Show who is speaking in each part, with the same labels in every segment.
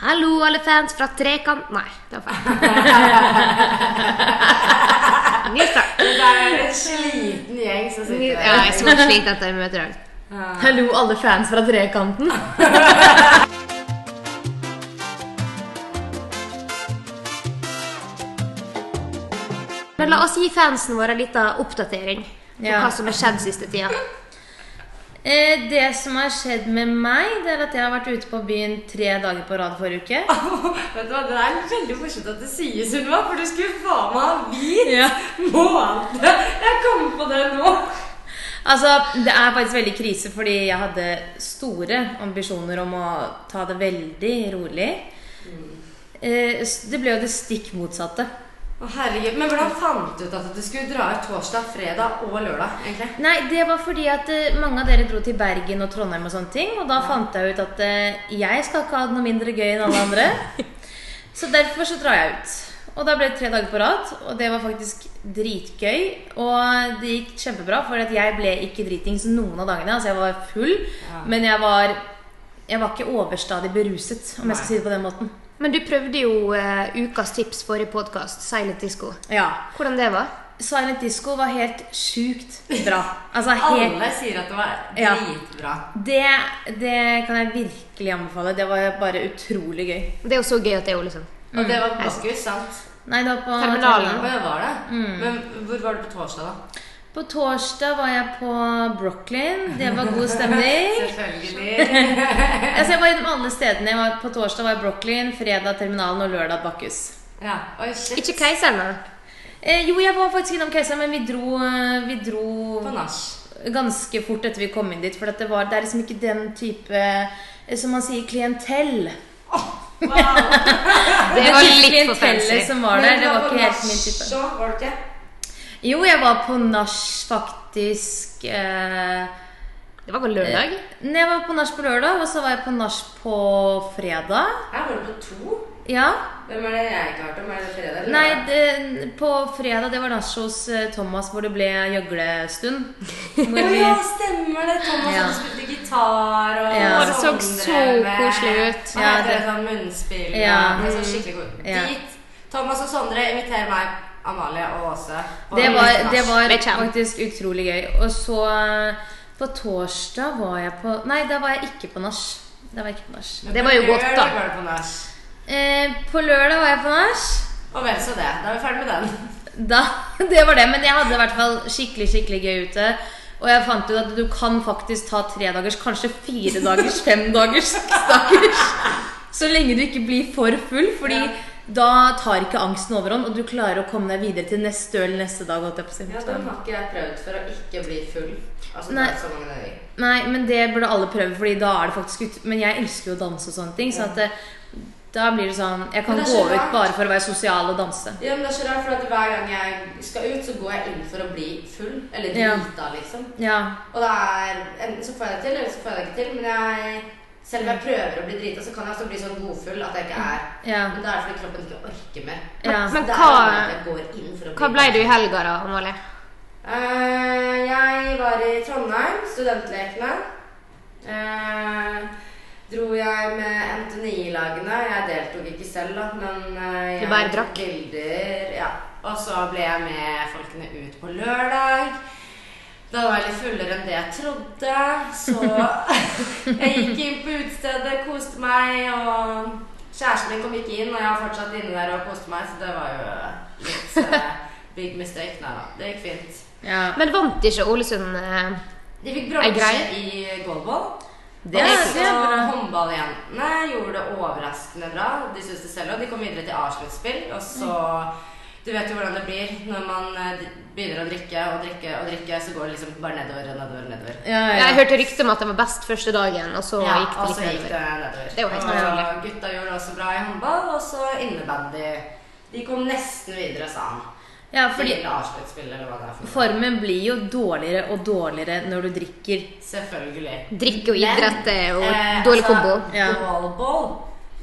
Speaker 1: Hallo, alle fans fra Trekant Nei, det var feil. Ny start.
Speaker 2: Det er en sliten gjeng som
Speaker 1: Ny,
Speaker 2: sitter
Speaker 1: ja, jeg er så sliten etter møtet i dag.
Speaker 3: Hallo, alle fans fra Trekanten.
Speaker 1: Men la oss gi fansen våre en liten oppdatering på
Speaker 3: Ja.
Speaker 1: hva som har skjedd siste tida.
Speaker 3: Eh, det som har skjedd med meg, det er at jeg har vært ute på byen tre dager på rad forrige
Speaker 2: Ah,
Speaker 3: uke.
Speaker 2: Vet du hva, Det er veldig morsomt at det sies, Sunniva, for du skulle faen meg ha hvit
Speaker 3: Ja.
Speaker 2: måned! Jeg kom på det nå.
Speaker 3: Altså, Det er faktisk veldig krise, fordi jeg hadde store ambisjoner om å ta det veldig rolig. Eh, s- det ble jo det stikk motsatte.
Speaker 2: Å herregud, Men hvordan fant du ut at du skulle dra ut torsdag, fredag og lørdag? egentlig?
Speaker 3: Nei, det var fordi at eh, mange av dere dro til Bergen og Trondheim og sånne ting. Og da fant jeg ut at eh, jeg skal ikke ha det noe mindre gøy enn alle andre. så derfor så drar jeg ut. Og da ble det tre dager på rad, og det var faktisk dritgøy. Og det gikk kjempebra, for at jeg ble ikke dritings noen av dagene. Altså jeg var full,
Speaker 2: Ja.
Speaker 3: men jeg var, jeg var ikke overstadig beruset, om jeg skal si det på den måten.
Speaker 1: Men du prøvde jo eh, ukas tips forrige podkast, Silent Disco.
Speaker 3: Ja.
Speaker 1: Hvordan det var?
Speaker 3: Silent Disco var helt sjukt bra. Altså helt
Speaker 2: Alle sier at det var
Speaker 3: Ja.
Speaker 2: dritbra.
Speaker 3: Det, det kan jeg virkelig anbefale. Det var bare utrolig gøy.
Speaker 1: Det er jo så gøy at det er jo liksom
Speaker 3: Mm.
Speaker 2: Og det var Bakhus, sant?
Speaker 3: Nei, det var på
Speaker 1: Terminalen.
Speaker 2: Og
Speaker 3: Terminalen.
Speaker 2: jeg var det.
Speaker 3: Mm.
Speaker 2: Men hvor var du på torsdag, da?
Speaker 3: På torsdag var jeg på Brooklyn. Det var god stemning.
Speaker 2: Selvfølgelig.
Speaker 3: Altså, jeg var innom alle stedene. Jeg var, på torsdag var jeg Brooklyn, fredag Terminalen og lørdag Bakkus.
Speaker 2: Ja, Oi, shit.
Speaker 1: Ikke Keiseren, da?
Speaker 3: Eh, jo, jeg var faktisk innom Keiseren, men vi dro, eh, vi dro
Speaker 2: På nach.
Speaker 3: ganske fort etter vi kom inn dit. For at det, var, det er liksom ikke den type eh, som man sier klientell.
Speaker 2: Wow.
Speaker 1: Det var
Speaker 3: type
Speaker 1: litt for
Speaker 3: klientellet
Speaker 1: fancy.
Speaker 3: som var der. Det var ikke helt min type.
Speaker 2: Så var det ikke?
Speaker 3: Jo, jeg var på nach faktisk eh,
Speaker 1: Det var på lørdag.
Speaker 3: Når jeg var på nach på lørdag, og så var jeg på nach på fredag.
Speaker 2: Her var det på to.
Speaker 3: Ja.
Speaker 2: Hvem er det jeg ikke har hørt om? Er det fredag? eller
Speaker 3: Nei,
Speaker 2: lørdag?
Speaker 3: det, på fredag det var nach hos eh, Thomas hvor det ble gjøglestund.
Speaker 2: Å
Speaker 3: Hvor vi,
Speaker 2: ja, stemmer det! Thomas
Speaker 3: Ja.
Speaker 2: hadde spilt gitar og
Speaker 3: Ja.
Speaker 1: Å, det så
Speaker 2: sånn
Speaker 1: så
Speaker 2: drev-
Speaker 1: koselig ut.
Speaker 2: Og
Speaker 3: Ja,
Speaker 2: hadde
Speaker 3: det-
Speaker 2: sånn munnspill
Speaker 3: Ja. Mm.
Speaker 2: og det så skikkelig god
Speaker 3: Ja.
Speaker 2: Dit. Thomas og Sondre inviterer meg, Amalie og Åse. Og
Speaker 3: det var, det var
Speaker 1: Med kjem.
Speaker 3: faktisk utrolig gøy. Og så eh, på torsdag var jeg på Nei, da var jeg ikke på nach. Da var jeg ikke på nach.
Speaker 2: Men
Speaker 1: det var jo
Speaker 2: på
Speaker 1: godt, da.
Speaker 2: lørdag var det på nach.
Speaker 3: Eh, på lørdag var jeg på nach.
Speaker 2: Og vel så det. Da er vi ferdig med den.
Speaker 3: Da, det var det, men jeg hadde i hvert fall skikkelig skikkelig gøy ute. Og jeg fant ut at du kan faktisk ta tre dagers, kanskje fire dagers, fem dagers, seks dagers. Så lenge du ikke blir for full, fordi
Speaker 2: Ja.
Speaker 3: da tar ikke angsten overhånd, og du klarer å komme deg videre til neste øl neste dag. Holdt jeg på å si.
Speaker 2: Ja, Den har ikke jeg prøvd for å ikke bli full. Altså,
Speaker 3: Nei.
Speaker 2: det er så mange dager.
Speaker 3: Nei, men det burde alle prøve, Fordi da er det faktisk ut... Men jeg elsker jo å danse og sånne ting, så at eh, da blir det sånn Jeg kan
Speaker 2: Men det er
Speaker 3: gå
Speaker 2: så
Speaker 3: ut
Speaker 2: rart.
Speaker 3: bare for å være sosial og danse.
Speaker 2: Ja, men det er så rart, for at Hver gang jeg skal ut, så går jeg inn for å bli full. Eller
Speaker 3: Ja.
Speaker 2: drita, liksom.
Speaker 3: Ja.
Speaker 2: Og det er, Enten så får jeg det til, eller så får jeg det ikke til. Men jeg, selv om jeg prøver å bli drita, så kan jeg også bli sånn godfull at jeg ikke er
Speaker 3: Ja.
Speaker 2: Men da er det fordi kroppen ikke orker mer.
Speaker 3: ja.
Speaker 1: Men-
Speaker 2: Det er
Speaker 1: hva-
Speaker 2: sånn at jeg går inn for å bli
Speaker 1: Hva ble du i helga, da, Amalie?
Speaker 2: Eh, jeg var i Trondheim, studentlekene. Eh, dro jeg med NTNI-lagene. Jeg deltok ikke selv, da, men eh,
Speaker 1: Du
Speaker 2: jeg
Speaker 1: bare
Speaker 2: tok
Speaker 1: drakk?
Speaker 2: bilder. Ja. Og så ble jeg med folkene ut på lørdag. Da var jeg litt fullere enn det jeg trodde, så jeg gikk inn på utestedet, koste meg, og kjæresten min kom ikke inn, og jeg var fortsatt inne der og koste meg, så det var jo litt eh, big mistake. Nei da, det gikk fint.
Speaker 3: ja.
Speaker 1: Men vant ikke Ålesund eh,
Speaker 2: De fikk
Speaker 1: Er
Speaker 2: bronse
Speaker 1: grei?
Speaker 2: i goalball.
Speaker 3: Det er,
Speaker 2: og
Speaker 3: det er bra.
Speaker 2: håndballjentene gjorde det overraskende bra. De syntes det selv, og de kom videre til avsluttspill. Og så Du vet jo hvordan det blir når man eh, begynner å drikke og drikke og drikke, så går det liksom bare nedover og nedover og nedover.
Speaker 3: Ja, ja.
Speaker 1: Jeg hørte rykte om at det var best første dagen, og så
Speaker 2: Ja,
Speaker 1: gikk det
Speaker 2: og
Speaker 1: litt
Speaker 2: så gikk
Speaker 1: nedover.
Speaker 2: det nedover.
Speaker 1: Det er jo helt
Speaker 2: og gutta gjorde det også bra i håndball, og så innebandy. De kom nesten videre, sa han.
Speaker 3: Ja,
Speaker 2: Fordi
Speaker 3: fordi
Speaker 2: avsluttspill, eller hva det er for noe.
Speaker 3: formen blir jo dårligere og dårligere når du drikker.
Speaker 2: Selvfølgelig.
Speaker 1: Drikke og idrett er jo
Speaker 2: eh,
Speaker 1: dårlig
Speaker 2: altså,
Speaker 1: kombo.
Speaker 3: Ja.
Speaker 2: Goalball,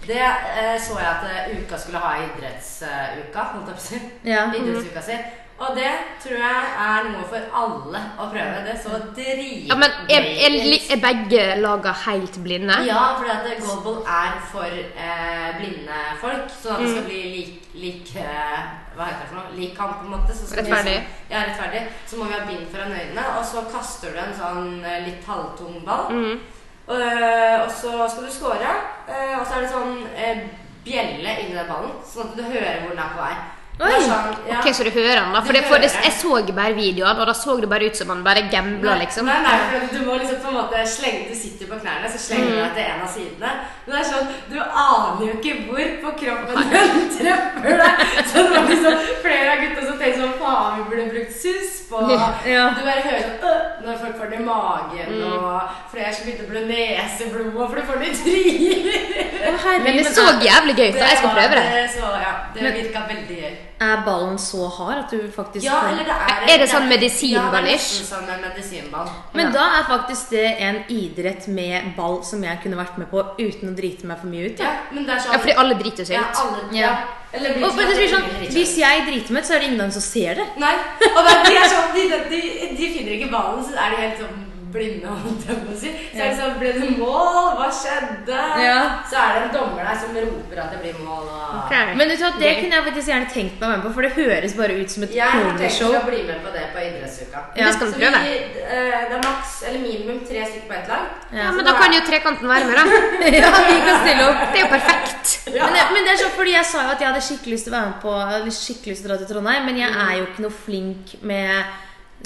Speaker 2: det eh, så jeg at eh, uka skulle ha i idrettsuka, holdt jeg på å si.
Speaker 3: Ja.
Speaker 1: Mhm.
Speaker 2: Idrettsuka si. Og det tror jeg er noe for alle å prøve. Det er så dritgøy.
Speaker 1: Ja, men er, er, li- er begge laga helt blinde?
Speaker 2: Ja, fordi at Global er for eh, blinde folk. Sånn at det
Speaker 1: Mm.
Speaker 2: skal bli lik, lik eh, Hva heter det for noe? Lik kamp, på en måte. Så skal vi-
Speaker 1: Rettferdig.
Speaker 2: ja, rettferdig. Så må vi ha bind foran øynene, og så kaster du en sånn eh, litt halvtung ball.
Speaker 1: Mm.
Speaker 2: Og, eh, og så skal du score, eh, og så er det sånn eh, bjelle inni den ballen, sånn at du hører hvor den er på vei. Det er
Speaker 3: Oi.
Speaker 2: sånn- ja.
Speaker 1: Ok, så du hører den, da? For,
Speaker 2: Du
Speaker 1: det, for det,
Speaker 2: hører den.
Speaker 1: jeg så bare videoen, og da så det bare ut som han bare gambla, liksom.
Speaker 2: Nei, nei, for du må liksom på en måte slenge Du sitter på knærne, så slenger
Speaker 1: Mm.
Speaker 2: du deg til en av sidene. Men det er sånn, du aner jo ikke hvor på kroppen den treffer deg. Så det var liksom flere av gutta som tenkte sånn Faen, vi burde brukt sus på
Speaker 3: Ja.
Speaker 2: Du bare hører sånn «Øh», når folk får det i magen,
Speaker 1: Mm.
Speaker 2: og flere som begynte å blø neseblod, og for du får det i trynet.
Speaker 3: Å, herregud,
Speaker 1: Men det
Speaker 3: men
Speaker 1: så
Speaker 3: er,
Speaker 1: jævlig gøy ut, så jeg skal
Speaker 2: var- øh,
Speaker 1: prøve det.
Speaker 2: Så, ja, det
Speaker 3: Men-
Speaker 2: virka veldig gøy.
Speaker 3: er ballen så hard at du faktisk
Speaker 2: Ja,
Speaker 3: får-
Speaker 2: eller det er
Speaker 1: Er det sånn
Speaker 2: Ja, det er
Speaker 1: medisinball-ish?
Speaker 2: nesten sånn en medisinball.
Speaker 3: Men da er faktisk det en idrett med ball som jeg kunne vært med på uten å drite meg for mye ut.
Speaker 2: Ja, men det er sånn
Speaker 1: Ja, fordi alle driter seg
Speaker 2: Ja,
Speaker 1: ut.
Speaker 2: alle, ja.
Speaker 3: Ja.
Speaker 2: Eller blir
Speaker 3: Og, men det blir sånn,
Speaker 2: blir ikke-
Speaker 3: hvis jeg driter meg ut, så er det ingen som ser det.
Speaker 2: Nei. Og det er- de, er sånn, de, de, de finner ikke ballen, så er de helt sånn blinde. holdt jeg på å si. Så er det sånn, Ble det mål? Hva skjedde?
Speaker 3: Ja.
Speaker 2: Så er det en dommer der som roper at det blir mål. Og...
Speaker 3: Men vet du at det
Speaker 1: Gøy.
Speaker 3: kunne jeg faktisk gjerne tenkt meg å være med på, for det høres bare ut som et
Speaker 2: Jeg har tenkt
Speaker 3: klovneshow.
Speaker 2: å bli med på det på idrettsuka.
Speaker 3: Ja,
Speaker 1: det skal
Speaker 2: Så
Speaker 1: vi
Speaker 2: vi,
Speaker 1: prøve.
Speaker 2: eh, det er maks eller minimum tre stykker på ett lag.
Speaker 3: Ja.
Speaker 1: Ja, men da kan jo trekanten være med, da.
Speaker 3: Ja, vi kan stille opp.
Speaker 1: Det er jo perfekt.
Speaker 3: Men, det- men det er sånn, fordi Jeg sa jo at jeg hadde skikkelig lyst til å være med på Jeg hadde skikkelig lyst til å dra til Trondheim, men jeg er jo ikke noe flink med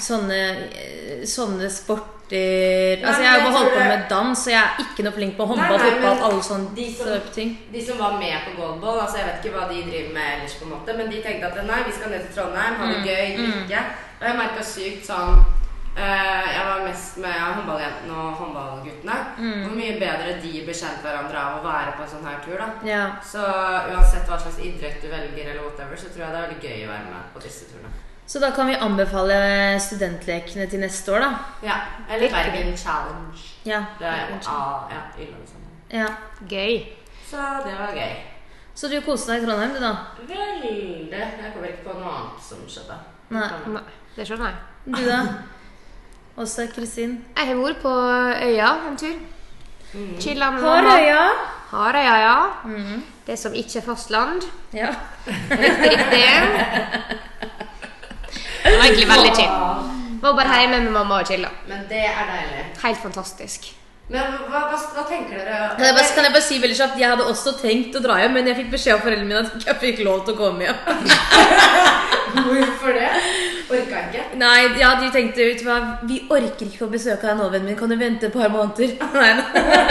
Speaker 3: sånne, eh, sånne sporter Altså,
Speaker 2: men
Speaker 3: Jeg har
Speaker 2: jeg
Speaker 3: bare holdt
Speaker 2: tror
Speaker 3: på
Speaker 2: det-
Speaker 3: med dans, så jeg er ikke noe flink på
Speaker 2: Nei,
Speaker 3: håndball,
Speaker 2: nei,
Speaker 3: fotball,
Speaker 2: men
Speaker 3: alle sånne
Speaker 2: de som-
Speaker 3: type ting.
Speaker 2: De som var med på goalball, altså jeg vet ikke hva de driver med ellers, på en måte, men de tenkte at nei, vi skal ned til Trondheim, ha
Speaker 3: Mm,
Speaker 2: det gøy, drikke. Og jeg merka sykt sånn eh, Jeg var mest med håndballjentene og håndballguttene.
Speaker 3: Mm.
Speaker 2: Hvor mye bedre de blir kjent hverandre av å være på en sånn her tur, da.
Speaker 3: Ja.
Speaker 2: Så uansett hva slags idrett du velger, eller whatever, så tror jeg det er veldig gøy å være med på disse turene.
Speaker 3: Så da kan vi anbefale studentlekene til neste år, da.
Speaker 2: Ja. Eller Bergen Challenge.
Speaker 3: Ja.
Speaker 2: Det er jo ah, ja, Ylva og sånn.
Speaker 3: ja.
Speaker 1: Gøy.
Speaker 2: Så det var gøy.
Speaker 3: Så du koste deg i Trondheim, du, da?
Speaker 2: Veldig. Jeg kommer ikke på noe annet som skjedde.
Speaker 3: Nei.
Speaker 1: Nei, Det skjønner jeg.
Speaker 3: Du, da? Åse Kristin.
Speaker 1: Jeg har vært på øya en tur. Chilla med mamma.
Speaker 3: Harøya.
Speaker 1: Harøya, ja. Det som ikke er fastland.
Speaker 3: Ja.
Speaker 1: Riktig, riktig. Det var egentlig veldig chill. Var bare hjemme med mamma og chilla.
Speaker 2: Men det er deilig.
Speaker 1: Helt fantastisk.
Speaker 2: Men hva, hva, hva tenker dere?
Speaker 3: Kan jeg, bare, kan jeg bare si veldig kjapt Jeg hadde også tenkt å dra hjem, men jeg fikk beskjed av foreldrene mine at jeg ikke fikk lov til å komme hjem.
Speaker 2: Hvorfor det? Orka ikke.
Speaker 3: Nei, ja, de tenkte ut hva Vi orker ikke å besøke deg nå, vennen min. Kan du vente et par måneder? Nei, nei.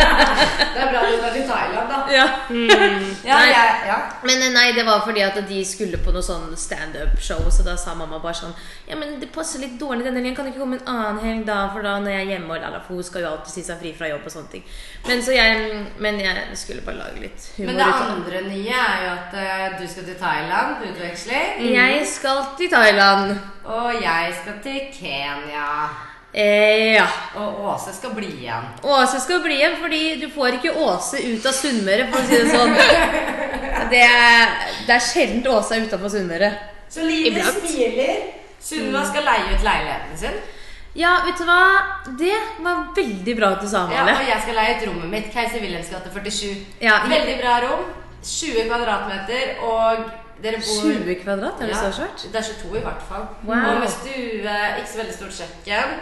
Speaker 2: Det er bra du var i Thailand, da.
Speaker 3: Ja.
Speaker 2: Ja,
Speaker 3: Mm. Nei.
Speaker 2: jeg, ja.
Speaker 3: Men eh, nei, det var fordi at de skulle på noe sånn standup-show, så da sa mamma bare sånn Ja, men det passer litt dårlig denne helgen, kan det ikke komme en annen helg da? For da når jeg er hjemme og lala, for hun skal jo alltid si seg fri fra jobb og sånne ting. Men så jeg Men jeg skulle bare lage litt humor
Speaker 2: Men det
Speaker 3: ut av det.
Speaker 2: andre nye er jo at eh, du skal til Thailand på utveksling.
Speaker 3: Jeg skal til Thailand.
Speaker 2: Og jeg skal til Kenya.
Speaker 3: Eh, ja.
Speaker 2: Og Åse skal bli igjen.
Speaker 3: Åse skal bli hjem, fordi du får ikke Åse ut av Sunnmøre, for å si det sånn. Det er, det er sjelden Åse er utafor Sunnmøre.
Speaker 2: Så livet
Speaker 1: Iblant.
Speaker 2: smiler.
Speaker 3: Mm.
Speaker 2: Sunniva skal leie ut leiligheten sin.
Speaker 3: Ja, vet du hva? Det var veldig bra at du sa,
Speaker 2: Ja,
Speaker 3: Male.
Speaker 2: og jeg skal leie ut rommet mitt. Keiser Wilhelms gate 47.
Speaker 3: Ja.
Speaker 2: Veldig bra rom. 20 kvadratmeter, og dere bor
Speaker 3: 20 kvadrat, er det
Speaker 2: Ja,
Speaker 3: så svært?
Speaker 2: Det er 22 i hvert fall.
Speaker 3: Wow.
Speaker 2: Og med stue, ikke så veldig stort kjøkken.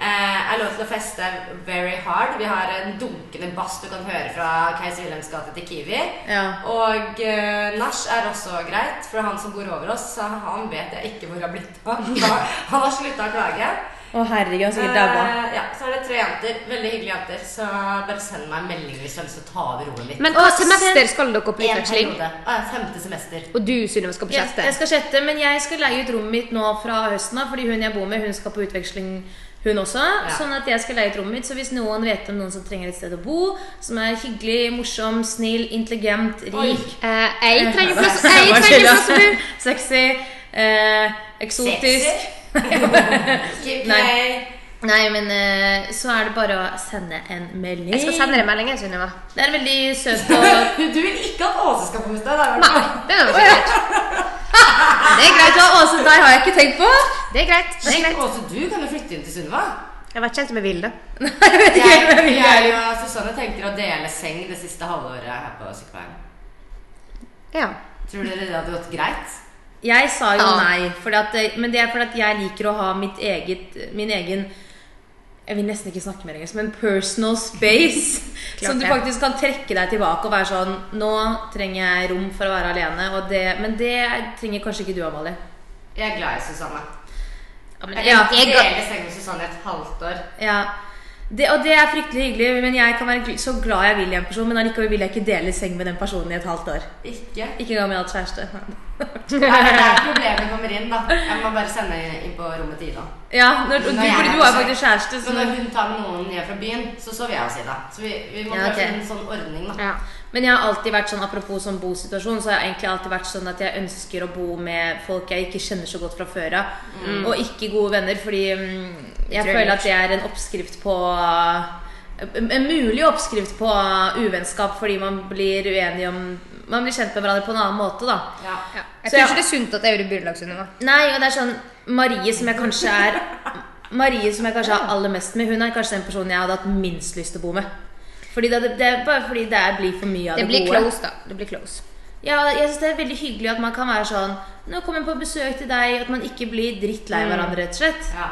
Speaker 2: Eh, er lov til å feste very hard. Vi har en dunkende bass du kan høre fra Keiser Wilhelms gate til Kiwi.
Speaker 3: Ja.
Speaker 2: Og eh, nach er også greit, for han som bor over oss, så han vet jeg ikke hvor har blitt av. Han har slutta å klage.
Speaker 3: Å herregud, han sikkert dabba.
Speaker 2: Eh, ja, så er det tre jenter. Veldig hyggelige jenter. Så bare send meg en melding liksom, hvis du har lyst til å ta over rommet mitt.
Speaker 1: Men hva
Speaker 3: Og
Speaker 1: semester skal dere på
Speaker 2: En
Speaker 1: utveksling?
Speaker 2: periode. Ah, femte semester.
Speaker 1: Og du, Sunniva, skal på
Speaker 3: Jeg, jeg
Speaker 1: sjette?
Speaker 3: skal sjette, men jeg skal leie ut rommet mitt nå fra høsten av, fordi hun jeg bor med, hun skal på utveksling, hun også. Sånn at jeg skal leie ut rommet mitt, så hvis noen vet om noen som trenger et sted å bo, som er hyggelig, morsom, snill, intelligent, rik
Speaker 1: Eh, Jeg trenger plass
Speaker 3: Nei, sånn
Speaker 1: Jeg
Speaker 3: bare
Speaker 1: trenger
Speaker 3: tulla.
Speaker 1: plass å bo!
Speaker 3: Sexy. Eh, eksotisk.
Speaker 2: Keep
Speaker 3: Nei.
Speaker 2: play.
Speaker 3: Nei, men eh, så er det bare å sende en melding.
Speaker 1: Jeg skal sende deg en melding, jeg, Sunniva.
Speaker 3: Det er veldig søt og
Speaker 2: Du vil ikke at Åse skal få med seg deg?
Speaker 1: Nei, det er noe sikkert.
Speaker 3: Det er greit, da. Åse, deg har jeg ikke tenkt på.
Speaker 1: Det er greit. det er
Speaker 2: Shit,
Speaker 1: greit.
Speaker 2: Åse, du kan jo flytte inn til Sunniva.
Speaker 1: Jeg var ikke helt med Vilde.
Speaker 3: Nei, jeg vet ikke
Speaker 2: Jeg,
Speaker 3: hvem jeg
Speaker 2: jeg
Speaker 3: er.
Speaker 2: og Susanne tenker å dele seng det siste halvåret her på sykepleien.
Speaker 1: Ja.
Speaker 2: Tror dere det hadde gått greit?
Speaker 3: Jeg sa jo
Speaker 1: Ja.
Speaker 3: nei, fordi at, eh, men det er fordi at jeg liker å ha mitt eget, min egen Jeg vil nesten ikke snakke mer engelsk, men personal space.
Speaker 1: Klart
Speaker 3: som du
Speaker 1: det.
Speaker 3: faktisk kan trekke deg tilbake og være sånn Nå trenger jeg rom for å være alene. Og det, men det trenger kanskje ikke du, Amalie.
Speaker 2: Jeg er glad i Susanne.
Speaker 3: Ja, men-
Speaker 2: Jeg
Speaker 3: ja,
Speaker 2: kan
Speaker 1: jeg-
Speaker 2: dele seng med Susanne et halvt år.
Speaker 3: ja. Det, og det er fryktelig hyggelig, men jeg kan være gl- så glad jeg vil i en person, men allikevel vil jeg ikke dele seng med den personen i et halvt år.
Speaker 2: Ikke.
Speaker 3: Ikke engang om jeg har hatt kjæreste.
Speaker 2: Nei, det er der problemet kommer inn, da. Jeg må bare sende henne inn på rommet til Ida.
Speaker 3: Ja, når, du,
Speaker 2: Når jeg
Speaker 3: fordi
Speaker 2: er
Speaker 3: du har
Speaker 2: på
Speaker 3: faktisk kjæreste,
Speaker 2: Så
Speaker 3: så
Speaker 2: når hun tar med noen ned fra byen, så sover jeg hos Ida. Så vi, vi må prøve
Speaker 3: Ja, ok.
Speaker 2: en sånn ordning, da.
Speaker 1: ja.
Speaker 3: Men jeg har alltid vært sånn, apropos sånn bosituasjon, så har jeg egentlig alltid vært sånn at jeg ønsker å bo med folk jeg ikke kjenner så godt fra før av.
Speaker 2: Mm.
Speaker 3: Og ikke gode venner, fordi mm, jeg
Speaker 1: tror jeg
Speaker 3: føler
Speaker 1: gjør
Speaker 3: at det er en oppskrift på en en mulig oppskrift på uvennskap fordi man blir uenig om Man blir kjent med hverandre på en annen måte, da.
Speaker 2: Ja.
Speaker 1: Ja. Jeg
Speaker 3: Så
Speaker 1: tror
Speaker 3: ja.
Speaker 1: ikke det er sunt at jeg gjorde burettslagsuniva.
Speaker 3: Nei, og det er sånn Marie som jeg kanskje er Marie som jeg kanskje har aller mest med, hun er kanskje den personen jeg hadde hatt minst lyst til å bo med. Fordi det, det er bare fordi det er- blir for mye av det,
Speaker 1: Det blir
Speaker 3: gode.
Speaker 1: close, da. Det blir close.
Speaker 3: Ja, jeg synes det er veldig hyggelig at man kan være sånn Nå kommer jeg på besøk til deg At man ikke blir drittlei
Speaker 2: Mm.
Speaker 3: hverandre, rett og slett
Speaker 2: ja.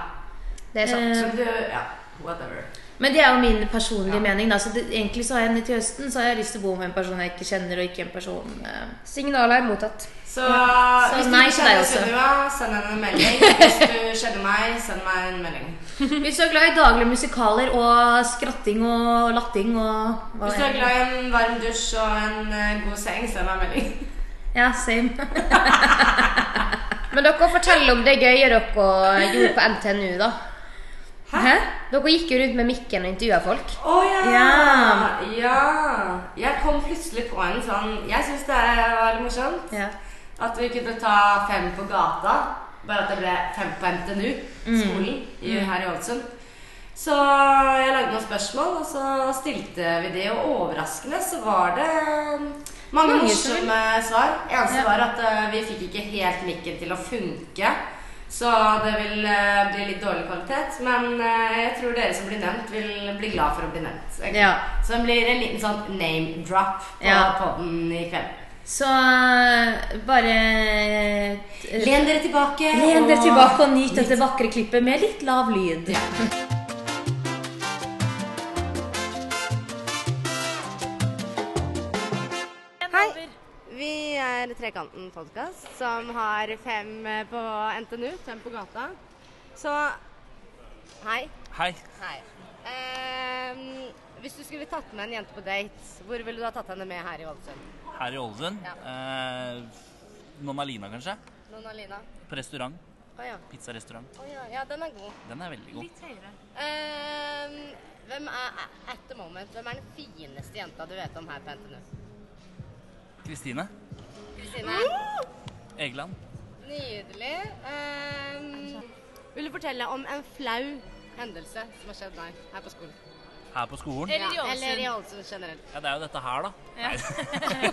Speaker 1: Det er sant.
Speaker 3: Eh,
Speaker 2: Så du Ja, whatever.
Speaker 3: Men det er jo min personlige
Speaker 2: Ja.
Speaker 3: mening da Så det, egentlig så har jeg til høsten Så har jeg lyst til å bo med en person jeg ikke kjenner Og ikke en person eh.
Speaker 1: Signaler mottatt.
Speaker 2: Så,
Speaker 3: Så
Speaker 2: hvis du
Speaker 3: nei
Speaker 2: ikke
Speaker 3: til deg
Speaker 2: kjenner
Speaker 3: også.
Speaker 2: Sunniva, send henne en melding. Hvis du kjenner meg, send meg en melding.
Speaker 3: Hvis du er glad i daglige musikaler Og skratting og latting og hva
Speaker 2: Hvis du er
Speaker 3: enn.
Speaker 2: glad i en varm dusj og en eh, god seng, send meg en melding.
Speaker 3: Ja, same
Speaker 1: Men dere forteller om det gøye dere gjorde på NTNU, da.
Speaker 3: Hæ?
Speaker 1: Dere gikk jo rundt med mikken og intervjua folk.
Speaker 2: Å ja.
Speaker 3: Ja.
Speaker 2: ja! Jeg kom plutselig på en sånn Jeg syns det var litt morsomt.
Speaker 3: Ja.
Speaker 2: At vi kunne ta fem på gata. Bare at det ble fem på NTNU,
Speaker 3: Mm.
Speaker 2: skolen i, her i Ålesund. Så jeg lagde noen spørsmål, og så stilte vi det. Og overraskende så var det um, mange
Speaker 3: Mange
Speaker 2: morsomme svar. Eneste
Speaker 3: Ja.
Speaker 2: var at eh, vi fikk ikke helt mikken til å funke. Så det vil eh, bli litt dårlig kvalitet. Men eh, jeg tror dere som blir nevnt, vil bli glad for å bli nevnt. egentlig.
Speaker 3: Ja.
Speaker 2: Så det blir en liten sånn name drop på
Speaker 3: Ja.
Speaker 2: podden i kveld.
Speaker 3: Så eh, bare eh,
Speaker 2: Len dere tilbake.
Speaker 3: Len
Speaker 2: og-
Speaker 3: dere tilbake og nyt dette vakre klippet Med litt lav lyd
Speaker 2: Ja.
Speaker 4: Hei. Vi er Trekanten podkast, som har fem eh, på NTNU, fem på gata. Så hei.
Speaker 5: Hei.
Speaker 4: Hei. Ehm, hvis du skulle tatt med en jente på date, hvor ville du ha tatt henne med her i Ålesund?
Speaker 5: Her i Ålesund.
Speaker 4: Ja.
Speaker 5: Eh, Nonnalina, kanskje?
Speaker 4: Noen Alina?
Speaker 5: På restaurant.
Speaker 4: Å ja.
Speaker 5: Pizzarestaurant.
Speaker 4: Å ja. ja, den er god.
Speaker 5: Den er veldig god.
Speaker 4: Ehm, hvem er at the moment, hvem er den fineste jenta du vet om her på NTNU?
Speaker 5: Kristine
Speaker 4: Kristine?
Speaker 5: Egeland.
Speaker 4: Nydelig. Ehm, vil du fortelle om en flau hendelse som har skjedd deg her på skolen?
Speaker 5: Her på skolen.
Speaker 2: Eh.
Speaker 3: Eller i Ålesund.
Speaker 4: Eller i Ålesund generelt.
Speaker 5: Ja, det er jo dette her, da. Nei. Nei,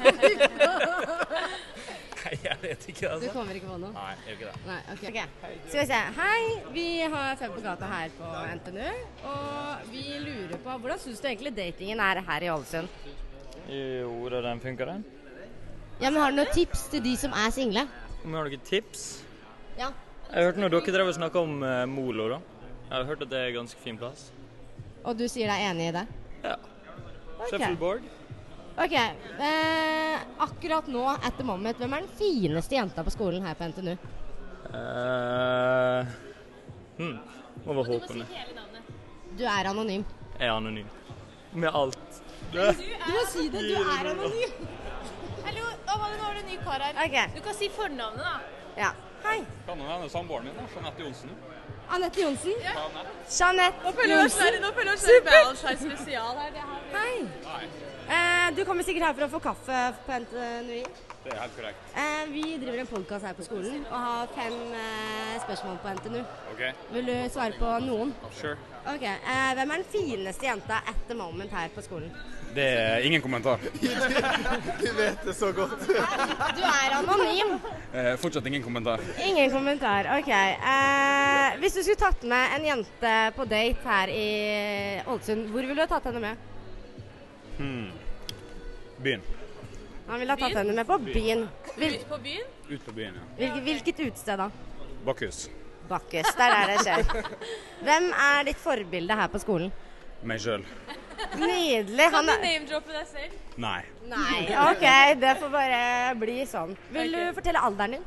Speaker 5: jeg vet
Speaker 4: Du
Speaker 5: ikke, altså.
Speaker 4: kommer ikke på noe?
Speaker 5: Nei, jeg gjør ikke det.
Speaker 4: Nei, ok. Skal vi se. Hei, vi har Fem på gata her på NTNU. Og vi lurer på hvordan syns du egentlig datingen er her i Ålesund?
Speaker 6: Jo da, den funker, den.
Speaker 4: Ja, men Har du noen tips til de som er single?
Speaker 6: Om vi har noen tips?
Speaker 4: Ja.
Speaker 6: Jeg hørte når dere drev og snakka om eh, Molo, da. Jeg har hørt at det er en ganske fin plass.
Speaker 4: Og du sier deg enig i det?
Speaker 6: Ja.
Speaker 4: Ok.
Speaker 6: Shuffleboard.
Speaker 4: Ok, eh, Akkurat nå, at the moment, hvem er den fineste jenta på skolen her på NTNU?
Speaker 6: Eh, hm. Må være håpende.
Speaker 4: Du er anonym.
Speaker 6: Jeg er anonym. Med alt.
Speaker 4: Du må si det, du er anonym.
Speaker 7: Hallo, Amalie, nå er det en ny kar her.
Speaker 4: Ok,
Speaker 7: Du kan si fornavnet, da.
Speaker 4: ja. Hei,
Speaker 8: Kan jo hende samboeren min, da. Jeanette Johnsen.
Speaker 4: Anette Johnsen. Jeanette
Speaker 7: Nå føler jeg oss
Speaker 4: Johnsen.
Speaker 7: være- nå føler jeg oss være Valentine's spesial her. Det her.
Speaker 4: Hei.
Speaker 2: Eh, du kommer sikkert her for å få kaffe på NTNUI.
Speaker 8: Det er helt korrekt.
Speaker 2: Eh, vi driver en podkast her på skolen og har fem eh, spørsmål på NTNU.
Speaker 8: OK,
Speaker 2: Vil du svare på noen?
Speaker 8: sure.
Speaker 2: Ok, eh, Hvem er den fineste jenta at the moment her på skolen?
Speaker 8: Det er ingen kommentar.
Speaker 2: Du er anonym.
Speaker 8: Eh, fortsatt ingen kommentar.
Speaker 2: Ingen kommentar. Ok. Eh, hvis du skulle tatt med en jente på date her i Ålesund, hvor ville du ha tatt henne med?
Speaker 8: Byen.
Speaker 2: Han ville ha tatt henne med på byen. Hvil,
Speaker 7: Ut på byen?
Speaker 8: Ut på byen, ja.
Speaker 2: hvilket, hvilket utested da?
Speaker 8: Bakkhus.
Speaker 2: Bakkus. Det er der det skjer. Hvem er ditt forbilde her på skolen?
Speaker 8: Meg sjøl.
Speaker 2: Nydelig.
Speaker 7: Kan
Speaker 2: Han
Speaker 7: du
Speaker 2: er
Speaker 7: name-droppe deg selv?
Speaker 8: Nei.
Speaker 2: Nei. OK, det får bare bli sånn. Vil du fortelle alderen din?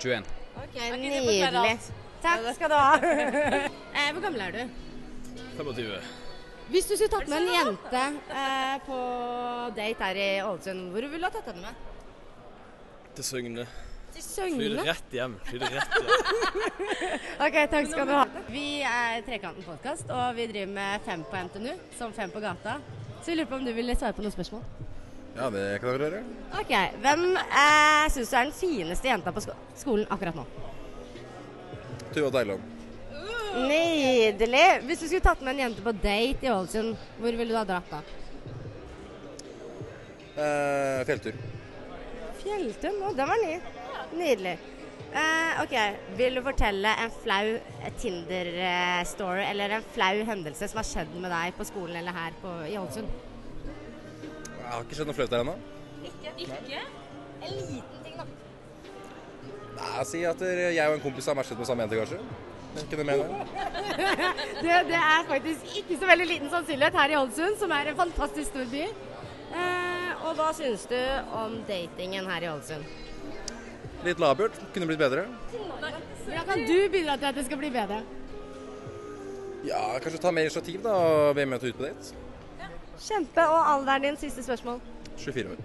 Speaker 8: 21.
Speaker 2: Ok,
Speaker 7: det forteller
Speaker 2: Nydelig.
Speaker 7: alt.
Speaker 2: Takk skal du ha. eh, hvor gammel er du?
Speaker 9: 25.
Speaker 2: Hvis du skulle tatt med en jente eh, på date her i Ålesund, hvor ville du ha tatt henne med?
Speaker 9: Til Søgne.
Speaker 2: Til
Speaker 9: Flyr
Speaker 2: Søgne.
Speaker 9: rett hjem. Flyr rett hjem.
Speaker 2: Ok, takk skal du ha. Vi er Trekanten podkast, og vi driver med Fem på NTNU, som Fem på gata. Så vi lurer på om du ville svare på noen spørsmål.
Speaker 10: Ja, det kan dere gjøre.
Speaker 2: Ok, Hvem eh, syns du er den fineste jenta på sko skolen akkurat nå?
Speaker 10: Tuva Deiland.
Speaker 2: Nydelig. Hvis du skulle tatt med en jente på date i Ålesund, hvor ville du ha dratt da?
Speaker 10: Eh, fjelltur.
Speaker 2: Fjelltun? Å, den var ny. Nydelig. Eh, ok, Vil du fortelle en flau eh, Tinder-story eller en flau hendelse som har skjedd med deg på skolen eller her på, i Ålesund?
Speaker 10: Jeg har ikke skjedd noe flaut der ennå.
Speaker 2: En liten ting, da.
Speaker 10: Nei, Si at dere- jeg og en kompis har matchet med samme jente, kanskje. Jeg Kunne mene. det.
Speaker 2: Det, det er faktisk ikke så veldig liten sannsynlighet her i Ålesund, som er en fantastisk stor by. Eh, og hva syns du om datingen her i Ålesund?
Speaker 10: Litt labert. Kunne blitt bedre.
Speaker 2: Hvordan kan du bidra til at det skal bli bedre?
Speaker 10: Ja, kanskje ta mer initiativ, da, og bli med til ut på date.
Speaker 2: Kjempe. Og alderen din, siste spørsmål.
Speaker 10: 24 år.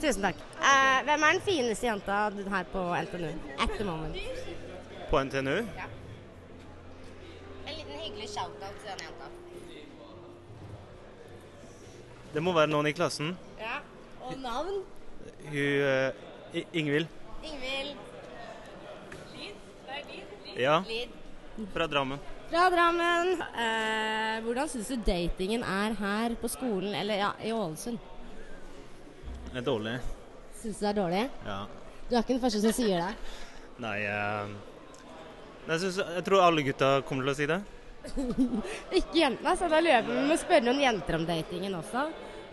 Speaker 2: Tusen takk. Eh, hvem er den fineste jenta her på NTNU? At the moment.
Speaker 11: På NTNU?
Speaker 2: En liten hyggelig shout-out til den jenta.
Speaker 11: Det må være noen i klassen.
Speaker 2: Ja. Og navn?
Speaker 11: Hun eh, I- Ingvild.
Speaker 2: Ingvild
Speaker 11: Ja,
Speaker 2: Lid.
Speaker 11: fra Drammen.
Speaker 2: Fra Drammen. Eh, hvordan syns du datingen er her på skolen, eller ja, i Ålesund?
Speaker 11: Det er dårlig.
Speaker 2: Syns du det er dårlig?
Speaker 11: Ja.
Speaker 2: Du er ikke den første som sier det.
Speaker 11: Nei eh, jeg, synes, jeg tror alle gutta kommer til å si det.
Speaker 2: Ikke jentene, så da lurer jeg på om vi må spørre noen jenter om datingen også.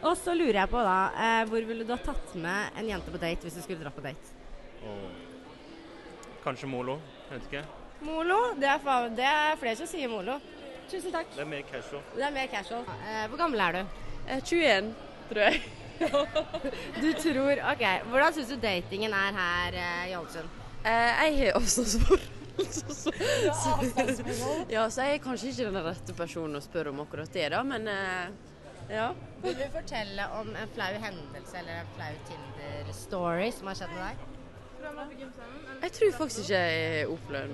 Speaker 2: Og så lurer jeg på da, eh, hvor ville du ha tatt med en jente på date hvis du skulle dra på date?
Speaker 11: Kanskje Molo. Jeg vet ikke.
Speaker 2: Molo? Det er, fa- det er flere som sier molo. Tusen takk.
Speaker 11: Det er mer casual.
Speaker 2: Det er mer casual. Eh, hvor gammel er du?
Speaker 7: 21, Eh, tror jeg.
Speaker 2: Du tror OK. Hvordan syns du datingen er her eh, i Ålesund?
Speaker 7: jeg har avstandsforhold. Så, så, ja, så jeg er kanskje ikke den rette personen å spørre om akkurat det, da, men eh, ja.
Speaker 2: Vil du fortelle om en flau hendelse eller en flau Tinder-story som har skjedd med deg?
Speaker 7: Jeg tror faktisk ikke jeg opplever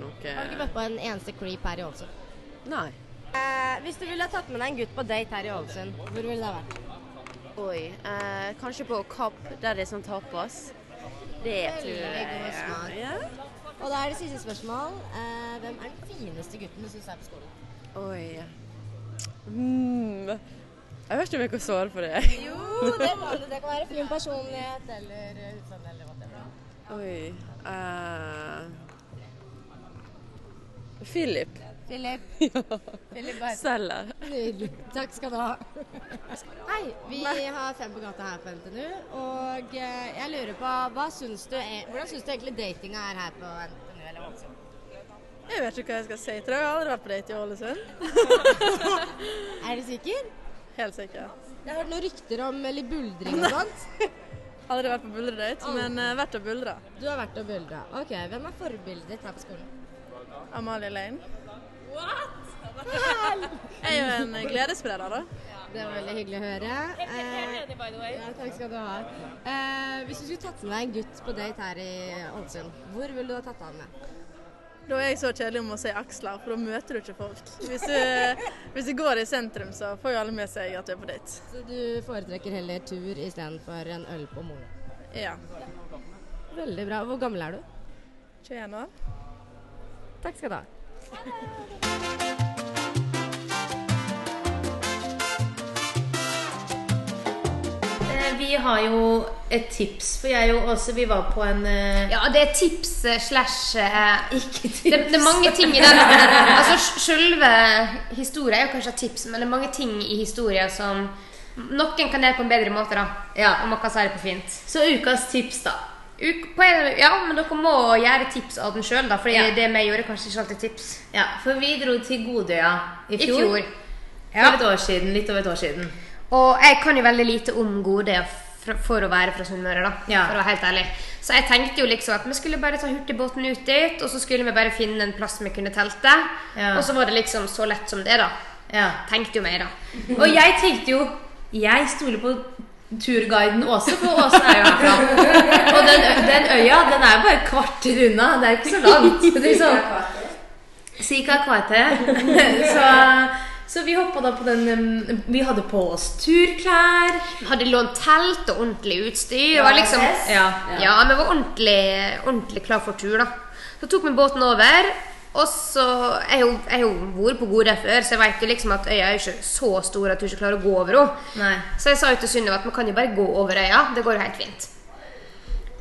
Speaker 2: Har du ikke
Speaker 7: noe
Speaker 2: møtt på en eneste creep her i Ålesund?
Speaker 7: Nei.
Speaker 2: Eh, hvis du ville ha tatt med deg en gutt på date her i Ålesund, hvor ville det vært?
Speaker 7: Oi. eh, kanskje på Kapp, der det er sånn tapas. Det tror jeg.
Speaker 2: god smak.
Speaker 7: Ja.
Speaker 2: Og da er det siste spørsmål. Eh, hvem er den fineste gutten du syns er på skolen?
Speaker 7: Oi. Mm. Jeg vet ikke om jeg kan svare på det.
Speaker 2: Jo, det var det. Det kan være fin personlighet eller utseende eller hva
Speaker 7: Oi. eh, Philip.
Speaker 2: Philip. Philip Berg.
Speaker 7: Selger.
Speaker 2: Nydelig. Takk skal du ha. Hei, vi har Fem på gata her på NTNU, og eh, jeg lurer på hva syns du, e- Hvordan syns du egentlig datinga er her på NTNU eller Ålesund?
Speaker 7: Jeg vet ikke hva jeg skal si. Tror jeg har aldri vært på date i Ålesund.
Speaker 2: Er du sikker?
Speaker 7: Helt sikker.
Speaker 2: Jeg har hørt noen rykter om litt buldring og sånt.
Speaker 7: Aldri vært på buldredate, men eh, vært og buldra.
Speaker 2: Du har vært og buldra. Ok, hvem er forbildet ditt her på skolen?
Speaker 7: Amalie Lane. What?! Jeg er jo en
Speaker 12: eh,
Speaker 7: gledesspreder, da.
Speaker 2: Det var veldig hyggelig å høre. Eh, ja, takk skal du ha. Eh, hvis du skulle tatt med deg en gutt på date her i Ålesund, hvor ville du ha tatt han med?
Speaker 12: Da er jeg så kjedelig om å si aksler, for da møter du ikke folk. Hvis du, eh, hvis du går i sentrum, så får jo alle med seg at du er på date.
Speaker 13: Så du foretrekker heller tur istedenfor en øl på Molo.
Speaker 12: Ja.
Speaker 13: Veldig bra. Hvor gammel er du?
Speaker 12: 21 år.
Speaker 13: Takk skal du ha.
Speaker 3: Eh, Vi har jo et tips, for jeg og Åse vi var på en eh,
Speaker 1: Ja, det er tips eh, slash eh, Det, det er mange ting i den Altså, sj- Selve historien er jo kanskje et tips, men det er mange ting i historien som noen kan gjøre på en bedre måte. da Om man kan si det på fint.
Speaker 3: Så ukas tips, da.
Speaker 1: Uk på en, ja, men dere må gjøre tips av den sjøl, for det vi gjorde, er kanskje ikke alltid tips.
Speaker 3: Ja, for vi dro til Godøya i
Speaker 1: I
Speaker 3: fjor.
Speaker 1: fjor.
Speaker 3: For et år siden, litt over et år siden.
Speaker 1: Og jeg kan jo veldig lite om Godøya fra- for å være fra Sunnmøre, da.
Speaker 3: Ja.
Speaker 1: For å være helt ærlig. Så jeg tenkte jo liksom at vi skulle bare ta hurtigbåten ut dit, og så skulle vi bare finne en plass vi kunne telte.
Speaker 3: Ja.
Speaker 1: Og så var det liksom så lett som det, da.
Speaker 3: Ja.
Speaker 1: Tenkte jo meg, da.
Speaker 3: Og jeg tenkte jo Jeg stoler på turguiden Åse, for Åse er jo herfra. Og den, ø- den øya den er jo bare et kvarter unna. Det er jo ikke så langt. Så det er sånn, Cirka et kvarter. Så, så vi hoppa da på den um, Vi hadde på oss turklær.
Speaker 1: Hadde lånt telt og ordentlig utstyr.
Speaker 3: Ja,
Speaker 1: og var liksom,
Speaker 3: fest.
Speaker 1: ja,
Speaker 3: Ja.
Speaker 1: ja, vi var ordentlig, ordentlig klar for tur, da. Så tok vi båten over. Og så, Jeg har jo- jeg har jo vært på Godøy før, så jeg vet jo liksom at øya er jo ikke så stor at du ikke klarer å gå over henne.
Speaker 3: Nei.
Speaker 1: Så jeg sa jo til Sunniva at man kan jo bare gå over øya. Det går jo helt fint.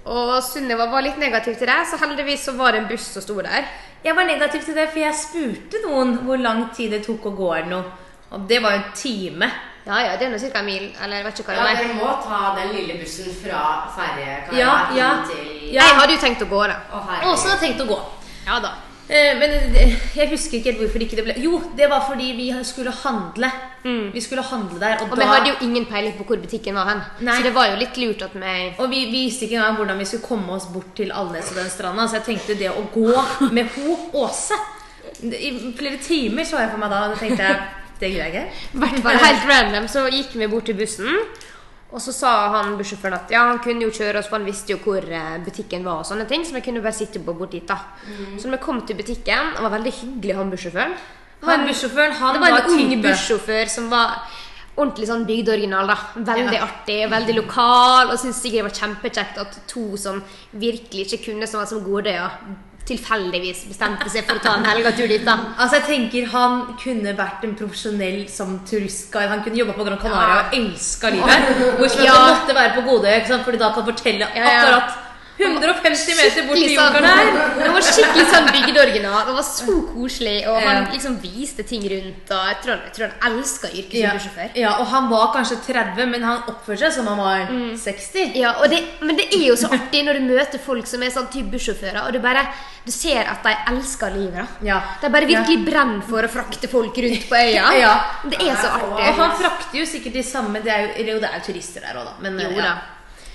Speaker 1: Og Sunniva var litt negativ til det, så heldigvis så var det en buss som sto der.
Speaker 3: Jeg var negativ til det, for jeg spurte noen hvor lang tid det tok å gå eller noe. Og det var jo en time.
Speaker 1: Ja, ja, det er nå ca. en mil. Eller jeg vet ikke hva
Speaker 2: Ja,
Speaker 1: det
Speaker 2: dere må ta den lille bussen fra ferjekaraten
Speaker 3: Ja, ja.
Speaker 2: til
Speaker 3: Ja.
Speaker 1: Jeg hadde jo tenkt å gå, da.
Speaker 2: herregud.
Speaker 3: Åse hadde tenkt å gå.
Speaker 1: Ja da.
Speaker 3: Eh, Men det- jeg husker ikke helt hvorfor det ikke det ble Jo, det var fordi vi skulle handle. Vi skulle handle der, og,
Speaker 1: Mm. Og
Speaker 3: da
Speaker 1: vi hadde jo ingen peiling på hvor butikken var hen. Så det var jo litt lurt at vi
Speaker 3: Og vi visste ikke engang hvordan vi skulle komme oss bort til Alnes og den stranda, så jeg tenkte det å gå med ho Åse I flere timer så jeg for meg da, og da tenkte jeg det gidder jeg ikke.
Speaker 1: hvert fall helt random, så gikk vi bort til bussen. Og så sa han bussjåføren at ja, han kunne jo kjøre oss, for han visste jo hvor eh, butikken var. og sånne ting, Så vi kunne bare sitte på bort dit. da. Så når vi kom til butikken, han var veldig hyggelig, han bussjåføren.
Speaker 3: Han bussjåføren, han
Speaker 1: det var en
Speaker 3: var
Speaker 1: ung
Speaker 3: type.
Speaker 1: bussjåfør som var ordentlig sånn bygdeoriginal. da. Veldig artig, veldig lokal, og syntes sikkert det var kjempekjekt at to som virkelig ikke kunne så mye som Godøya, tilfeldigvis bestemte seg for å ta en helgetur dit. da.
Speaker 3: Altså jeg tenker Han kunne vært en profesjonell som turistguide. Han kunne jobba på Gran Canaria
Speaker 1: Ja.
Speaker 3: og elska livet. Hvorfor
Speaker 1: Ja.
Speaker 3: han måtte være på Godøya, ikke sant? Fordi da kan han fortelle
Speaker 1: Ja, ja.
Speaker 3: akkurat 150 meter bort til
Speaker 1: Skikkelig sånn-
Speaker 3: jokeren her.
Speaker 1: Det var skikkelig sånn bygdeoriginal. Det var så koselig, og han
Speaker 3: Ja.
Speaker 1: liksom viste ting rundt. Og jeg tror han, jeg tror han elska yrket
Speaker 3: Ja.
Speaker 1: som bussjåfør.
Speaker 3: ja, og han var kanskje 30, men han oppførte seg som han var
Speaker 1: Mm.
Speaker 3: 60.
Speaker 1: Ja, og det, men det er jo så artig når du møter folk som er sånn type bussjåfører, og du bare du ser at de elsker livet. da. De bare virkelig brenner for å frakte folk rundt på øya.
Speaker 3: Ja.
Speaker 1: Det er så artig.
Speaker 3: Og han frakter jo sikkert de samme det er jo, eller jo, det er jo turister der òg, da. Men,
Speaker 1: Jo
Speaker 3: ja.
Speaker 1: da.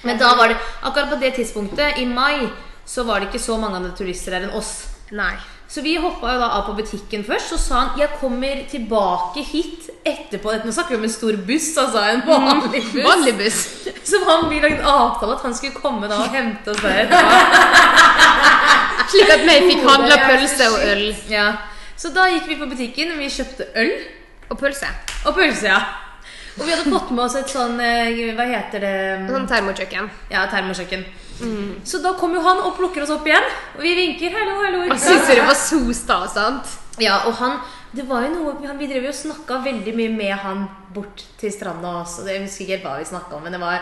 Speaker 3: men da var det akkurat på det tidspunktet, i mai, så var det ikke så mange andre turister der enn oss.
Speaker 1: Nei.
Speaker 3: Så vi hoppa jo da av på butikken først, så sa han 'jeg kommer tilbake hit etterpå'. Nå snakker vi om en stor buss, altså. En vanlig buss.
Speaker 1: Mm. Vanlig buss.
Speaker 3: Som han vi lagde en avtale at han skulle komme da og hente oss der. etterpå.
Speaker 1: Slik at vi fikk handla pølse og øl.
Speaker 3: Ja. Så da gikk vi på butikken, vi kjøpte øl.
Speaker 1: Og pølse.
Speaker 3: Og pølse, ja. Og vi hadde fått med oss et sånn eh, Hva heter det?
Speaker 1: Sånn termokjøkken.
Speaker 3: Ja, termokjøkken.
Speaker 1: Mm.
Speaker 3: Så da kom jo han og plukker oss opp igjen. Og vi vinker 'hallo, hallo'.
Speaker 1: Og syns jo det var så stas, sant?
Speaker 3: Ja, og han det var jo noe, han, Vi drev jo og snakka veldig mye med han bort til stranda også. Jeg husker ikke helt hva vi snakka om, men det var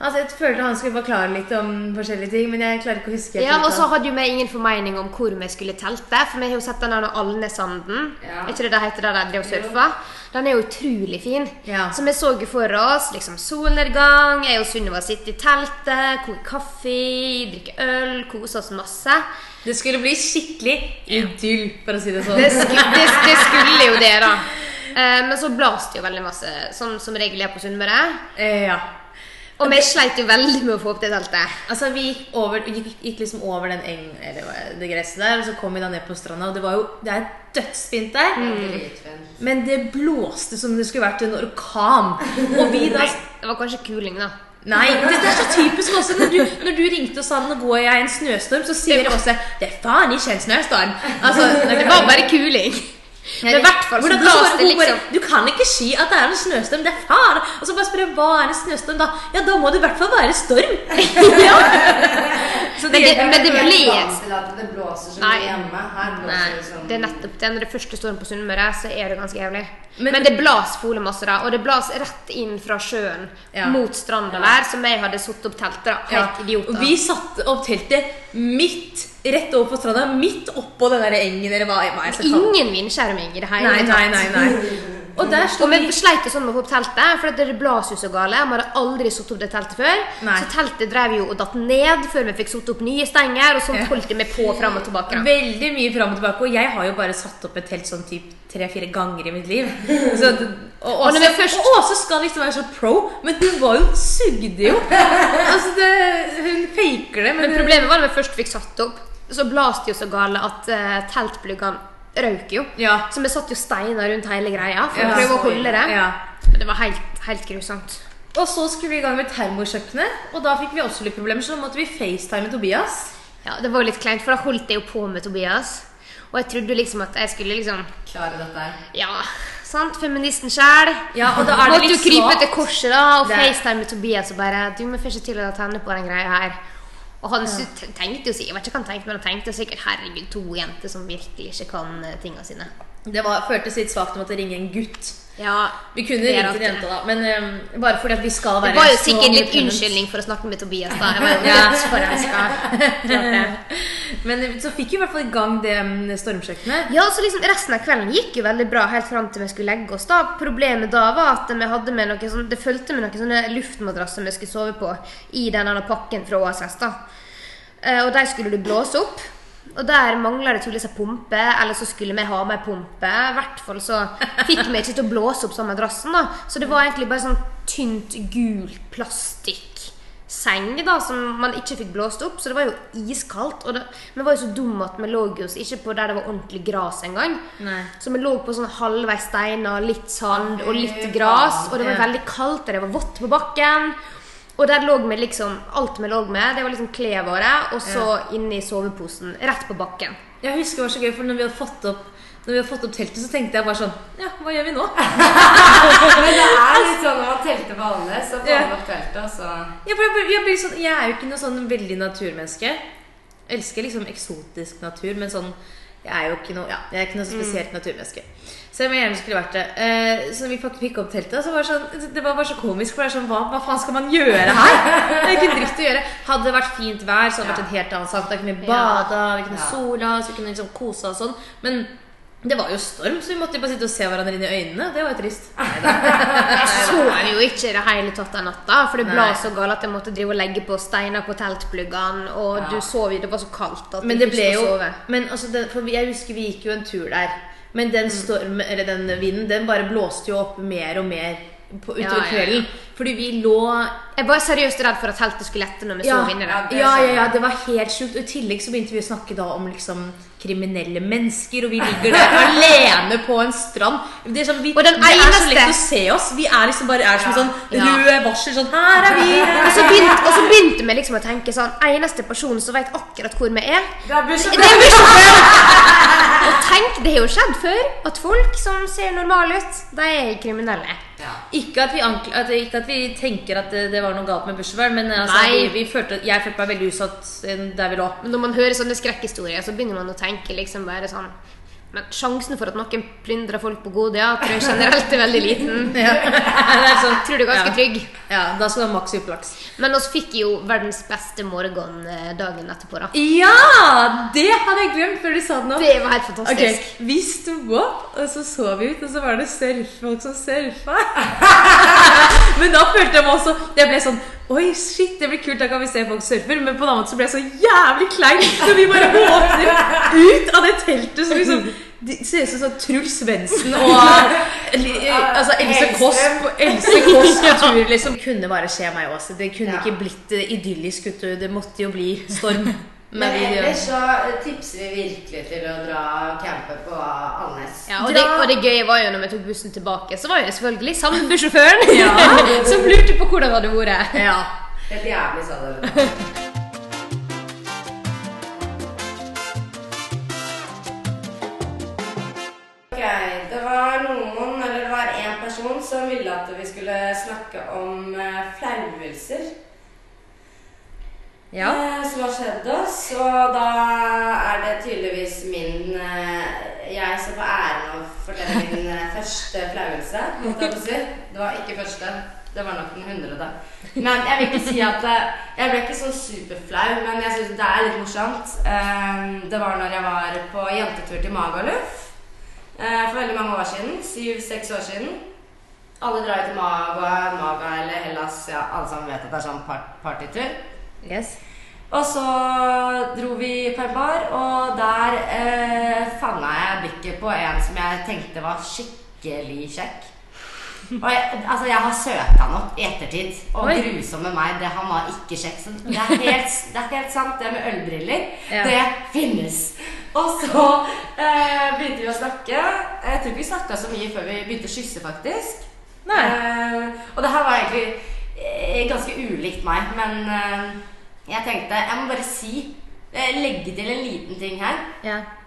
Speaker 3: Altså, Jeg følte han skulle forklare litt om forskjellige ting, men jeg klarer ikke å huske. helt
Speaker 1: Ja,
Speaker 3: ut
Speaker 1: og så
Speaker 3: av-
Speaker 1: hadde jo vi ingen formening om hvor vi skulle telte. For vi har jo sett den der Alnesanden. Er ikke det det heter der de drev og surfa? Den er jo utrolig fin. Så vi så jo for oss liksom solnedgang, jeg og Sunniva sitter i teltet, koker kaffe, drikker øl, koser oss masse.
Speaker 3: Det skulle bli skikkelig idyll, for å si det sånn.
Speaker 1: Det, sku, det, det skulle jo det, da. Eh, men så blåste det jo veldig masse, sånn som, som regel er på Sunnmøre.
Speaker 3: Eh, Ja.
Speaker 1: Og vi sleit jo veldig med å få opp det teltet.
Speaker 3: Altså, Vi gikk, over, gikk, gikk liksom over den eng, eller hva- det gresset der, og så kom vi da ned på stranda. Og det var jo, det er dødsfint der.
Speaker 1: Mm.
Speaker 3: Men det blåste som det skulle vært en orkan. Og vi da
Speaker 1: Det var kanskje kuling, da.
Speaker 3: Nei, det, det er så typisk også når du, når du ringte og sa nå går jeg i en snøstorm, så sier Åse det er faen ikke en snøstorm. Altså, nei, det var bare kuling.
Speaker 1: Men i hvert fall så
Speaker 3: Hvordan-
Speaker 1: blåste
Speaker 3: hvordan-
Speaker 1: det
Speaker 3: hun bare,
Speaker 1: liksom-
Speaker 3: Du kan ikke si at det er en snøstorm, det er faen. Og så bare spør jeg hva er en snøstorm da? Ja, da må det i hvert fall være storm. ja. Så
Speaker 1: Men det- men det
Speaker 2: Jeg er
Speaker 1: ble-
Speaker 2: ikke vant til at det blåser så mye
Speaker 1: Nei.
Speaker 2: hjemme. Her blåser
Speaker 1: Nei,
Speaker 2: det sånn
Speaker 1: det er nettopp det. Når det første storm på Sunnmøre, så er det ganske jævlig. Men, det blas fole masse, da. Og det blas rett inn fra sjøen
Speaker 3: Ja.
Speaker 1: mot stranda der, som jeg hadde satt opp teltet, da. Helt idioter.
Speaker 3: Og vi satte opp teltet midt, rett over på stranda, midt oppå den der engen eller hva, hva jeg skal kalle
Speaker 1: Ingen vindskjerming i det hele
Speaker 3: Nei, nei, nei, nei.
Speaker 1: Og der sto vi sleit jo sånn med å få opp teltet, for at det blåste jo så gale. Vi hadde aldri satt opp det teltet før.
Speaker 3: Nei.
Speaker 1: Så teltet drev jo og datt ned før vi fikk satt opp nye stenger, og sånt holdt det med på fram og tilbake. da.
Speaker 3: Veldig mye fram og tilbake. Og jeg har jo bare satt opp et telt sånn typ tre-fire ganger i mitt liv. Så, og,
Speaker 1: Og når
Speaker 3: Åse,
Speaker 1: vi først-
Speaker 3: og Åse skal liksom være så pro, men hun var jo sugde jo. Altså, det, hun faker det.
Speaker 1: Men, problemet var da vi først fikk satt opp, så blåste jo så gale at eh, teltpluggene røk jo. Så vi satt jo steiner rundt hele greia for
Speaker 3: Ja.
Speaker 1: å prøve å holde det.
Speaker 3: Ja.
Speaker 1: Men det var helt, helt grusomt.
Speaker 3: Og så skulle vi i gang med termokjøkkenet, og da fikk vi også litt problemer, så da måtte vi facetime Tobias.
Speaker 1: Ja, det var jo litt kleint, for da holdt jeg jo på med Tobias. Og jeg trodde liksom at jeg skulle liksom
Speaker 2: Klare dette her.
Speaker 1: Ja, sant? Feministen sjæl.
Speaker 3: Ja, og da er det
Speaker 1: Måtte
Speaker 3: litt
Speaker 1: jo krype
Speaker 3: svakt.
Speaker 1: til korset da og
Speaker 3: Det-
Speaker 1: facetime med Tobias og bare Du må først til å tenne på den greia her. Og han sy- t- tenkte jo si- Jeg vet ikke hva han tenkte, men han tenkte sikkert Herregud, to jenter som virkelig ikke kan eh, tinga sine.
Speaker 3: Det var, føltes litt svakt å måtte ringe en gutt.
Speaker 1: Ja,
Speaker 3: Vi kunne
Speaker 1: det er
Speaker 3: ringt en
Speaker 1: alltid
Speaker 3: jente, da, men eh, bare fordi at vi skal
Speaker 1: Det
Speaker 3: være
Speaker 1: var jo
Speaker 3: så
Speaker 1: sikkert litt
Speaker 3: independent.
Speaker 1: unnskyldning for å snakke med Tobias, da. Jeg var jo
Speaker 3: Ja.
Speaker 1: litt forelska.
Speaker 3: Men så fikk vi i hvert fall i gang det mm, stormkjøkkenet.
Speaker 1: Ja, så liksom Resten av kvelden gikk jo veldig bra helt fram til vi skulle legge oss. da. Problemet da var at vi hadde med noe sånn, det fulgte med noen sånne luftmadrasser vi skulle sove på i denne pakken fra OSS. da. Eh, Og de skulle du blåse opp. Og der mangla det tydeligvis en pumpe, eller så skulle vi ha med pumpe. I hvert fall så fikk vi ikke til å blåse opp sånn madrassen, da. Så det var egentlig bare sånn tynt gult plastikkseng da, som man ikke fikk blåst opp. Så det var jo iskaldt. Og det, vi var jo så dumme at vi lå jo ikke på der det var ordentlig gras engang.
Speaker 3: Nei.
Speaker 1: Så vi lå på sånn halvveis steiner, litt sand og litt
Speaker 3: Fy
Speaker 1: gras.
Speaker 3: faen,
Speaker 1: Og det var
Speaker 3: ja.
Speaker 1: veldig kaldt, og det var vått på bakken. Og der lå vi liksom, alt vi lå med, det var liksom klærne våre, og så inni soveposen. Rett på bakken.
Speaker 3: Jeg husker det var så gøy, for når vi hadde fått opp når vi hadde fått opp teltet, så tenkte jeg bare sånn Ja, hva gjør vi nå?
Speaker 2: Men det er litt sånn når man telter på alle, så får man opp teltet, og så
Speaker 3: Jeg, ble, jeg, blir sånn, jeg er jo ikke noe sånn veldig naturmenneske. Jeg elsker liksom eksotisk natur, men sånn Jeg er jo ikke noe, ja, jeg er
Speaker 1: Mm.
Speaker 3: ikke noe spesielt naturmenneske. Selv om jeg gjerne skulle vært det. Eh, så når vi fak- fikk opp teltet, så var det, sånn, det var bare så komisk. For det er sånn, hva, hva faen skal man gjøre her? Det er ikke en dritt å gjøre. Hadde det vært fint vær, så hadde det vært en helt annen sak. Da kunne vi bada, vi kunne
Speaker 1: Ja.
Speaker 3: sola oss, vi kunne liksom kose oss og sånn. Men det var jo storm, så vi måtte jo bare sitte og se hverandre inn i øynene. Det var jo trist.
Speaker 1: Jeg sov jo ikke i det hele tatt den natta, for det
Speaker 3: Nei.
Speaker 1: ble så galt at jeg måtte drive og legge på steiner på teltpluggene, og
Speaker 3: Ja.
Speaker 1: du sov jo, det var så kaldt at
Speaker 3: Men
Speaker 1: du
Speaker 3: det
Speaker 1: ikke
Speaker 3: ble
Speaker 1: skulle
Speaker 3: jo
Speaker 1: sove.
Speaker 3: men altså det, For jeg husker vi gikk jo en tur der. Men
Speaker 1: Mm.
Speaker 3: den, storm, eller den vinden den bare blåste jo opp mer og mer på, utover
Speaker 1: Ja, ja, ja.
Speaker 3: kvelden. Fordi vi lå
Speaker 1: Jeg var seriøst redd for at teltet skulle lette når vi
Speaker 3: ja,
Speaker 1: sov inni
Speaker 3: ja,
Speaker 1: der.
Speaker 3: ja, ja, det var helt sjukt. Og i tillegg så begynte vi å snakke da om liksom kriminelle mennesker, og vi ligger der alene på en strand. Det er, sånn, vi,
Speaker 1: Og den
Speaker 3: det er så
Speaker 1: eneste-
Speaker 3: lett å se oss. Vi er liksom bare er som
Speaker 1: Ja.
Speaker 3: sånn røde varsler. Sånn her er vi!
Speaker 1: Og så begynte, og så begynte vi liksom å tenke sånn Eneste personen som vet akkurat hvor vi er, det er bussjåføren! Og tenk, det har jo skjedd før at folk som ser normale ut, de er kriminelle.
Speaker 3: Ikke at vi, ankl at, ikke at vi tenker at det, det var noe galt med bussjåføren, men altså, vi,
Speaker 1: Nei.
Speaker 3: vi følte, jeg følte meg veldig utsatt eh, der vi lå.
Speaker 1: Men når man hører sånne skrekkhistorier, så begynner man å tenke liksom bare sånn Men sjansen for at noen plyndrer folk på Godia, tror jeg generelt er veldig liten. tror du er ganske
Speaker 3: sånn- ja.
Speaker 1: trygg.
Speaker 3: Ja, da skal du ha maks upplaks.
Speaker 1: Men oss fikk jo verdens beste morgen eh, dagen etterpå, da.
Speaker 3: Ja! Det hadde jeg glemt før du sa det nå.
Speaker 1: Det var helt fantastisk.
Speaker 3: Ok, Vi sto opp, og så så vi ut, og så var det surffolk som surfa. men da følte jeg meg også Jeg ble sånn Oi, shit, det blir kult, da kan vi se folk surfer. Men på en annen måte så ble jeg så jævlig klein når vi bare åpner ut av det teltet som liksom det ser ut som sånn Truls Svendsen og li- altså, Else Kåss på- Else Kåss natur, liksom. Det kunne bare skje meg også. Det kunne ikke blitt eh, idyllisk. vet du. Det måtte jo bli storm.
Speaker 2: Men
Speaker 3: Med videoen.
Speaker 2: ellers så tipser vi virkelig til å dra og campe på Alnes.
Speaker 1: Ja, og, det, og det gøye var jo når vi tok bussen tilbake, så var jo det selvfølgelig samme bussjåføren som lurte på hvordan det hadde vært.
Speaker 2: Ja. Helt jævlig sa det. Ok, det var noen, eller det var en person som ville at vi skulle snakke om eh, flauelser.
Speaker 3: Ja.
Speaker 2: eh, som har skjedd oss. Og da er det tydeligvis min eh, Jeg som får æren av å fortelle min eh, første flauelse. holdt jeg på å si. Det var ikke første. Det var nok den hundrede. Men jeg vil ikke si at eh, Jeg ble ikke sånn superflau, men jeg syns det er litt morsomt. Eh, Det var når jeg var på jentetur til Magaluf eh, for veldig mange år siden. Syv-seks år siden. Alle drar jo til Maga, Maga eller Hellas. Ja, alle sammen vet at det er sånn par- partytur. Og så dro vi på en bar, og der eh, fanga jeg blikket på en som jeg tenkte var skikkelig kjekk. Og jeg, altså jeg har søkt han opp i ettertid, og
Speaker 7: Oi.
Speaker 2: grusomme meg, det, han var ikke kjekk. Så det er helt, det er helt sant, det med ølbriller.
Speaker 7: Ja.
Speaker 2: Det finnes. Og så eh, begynte vi å snakke. Jeg tror ikke vi snakka så mye før vi begynte å kysse, faktisk. Eh, og det her var egentlig eh, ganske ulikt meg, men eh, jeg tenkte Jeg må bare si eh, Legge til en liten ting her.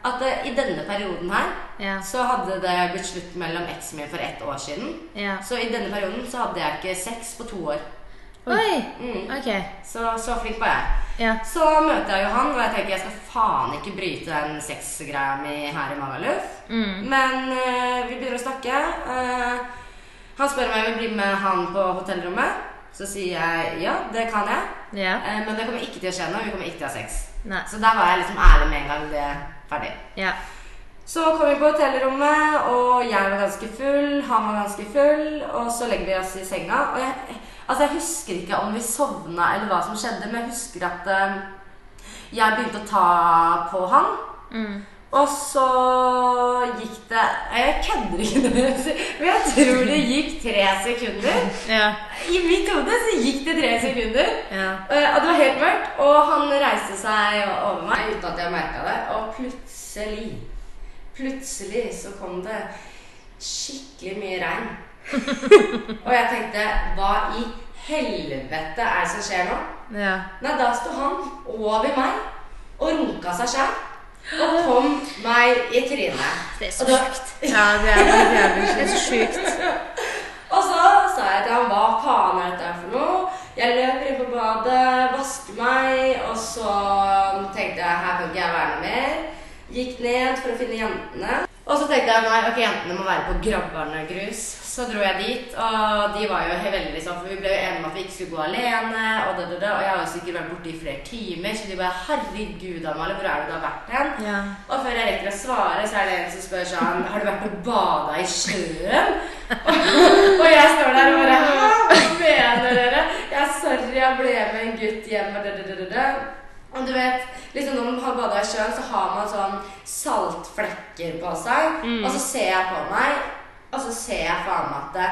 Speaker 2: At eh, i denne perioden her så hadde det blitt slutt mellom eksen min for ett år siden.
Speaker 3: Ja.
Speaker 2: Så i denne perioden så hadde jeg ikke sex på to år.
Speaker 3: Oi.
Speaker 2: Mm.
Speaker 3: Ok.
Speaker 2: Så, så flink var jeg. Så møter jeg jo han, og jeg tenker jeg skal faen ikke bryte den sexgreia mi her i Magaluf.
Speaker 3: Mm.
Speaker 2: Men eh, vi begynner å snakke. Eh, han spør om jeg vil bli med han på hotellrommet. Så sier jeg ja, det kan jeg.
Speaker 3: Ja.
Speaker 2: Eh, men det kommer ikke til å skje noe. Vi kommer ikke til å ha sex.
Speaker 3: Nei.
Speaker 2: Så der var jeg liksom ærlig med en gang det er ferdig.
Speaker 3: Ja.
Speaker 2: Så kom vi på hotellrommet, og jeg var ganske full, han var ganske full, og så legger vi oss i senga. Og jeg, altså jeg husker ikke om vi sovna eller hva som skjedde, men jeg husker at eh, jeg begynte å ta på han.
Speaker 3: Mm.
Speaker 2: Og så gikk det Jeg kødder ikke, når jeg sier- men jeg tror det gikk tre sekunder. I mitt hode så gikk det tre sekunder. Eh, Og det var helt mørkt. Og han reiste seg over meg uten at jeg merka det. Og plutselig, plutselig så kom det skikkelig mye regn. og jeg tenkte Hva i helvete er det som skjer nå?
Speaker 3: Ja.
Speaker 2: Nei, da sto han over meg og runka seg sjæl. Og kom meg i trynet. Det er så sjukt.
Speaker 3: Ja, det er så jævlig sjukt. Det er så sjukt.
Speaker 2: Og så sa jeg til han hva faen er dette her for noe? Jeg løper inn på badet, vasker meg, og så tenkte jeg her kan ikke jeg være noe mer. Gikk ned for å finne jentene. Og så tenkte jeg nei, ok, jentene må være på Grabbarne grus. Så dro jeg dit, og de var jo veldig sånn, for vi ble jo enige om at vi ikke skulle gå alene. Og det, det, det, og jeg har jo sikkert vært borte i flere timer, så de bare herregud, Amalie, hvor er det du har vært hen?
Speaker 3: Ja.
Speaker 2: Og før jeg rekker å svare, så er det en som spør sånn Har du vært og bada i sjøen? og jeg står der og bare Hæ, hva mener dere? Ja, sorry, jeg ble med en gutt hjem og dødødødø. Og du vet, liksom når man har bada i sjøen, så har man sånn saltflekker på seg.
Speaker 7: Mm.
Speaker 2: Og så ser jeg på meg, og så ser jeg faen meg at det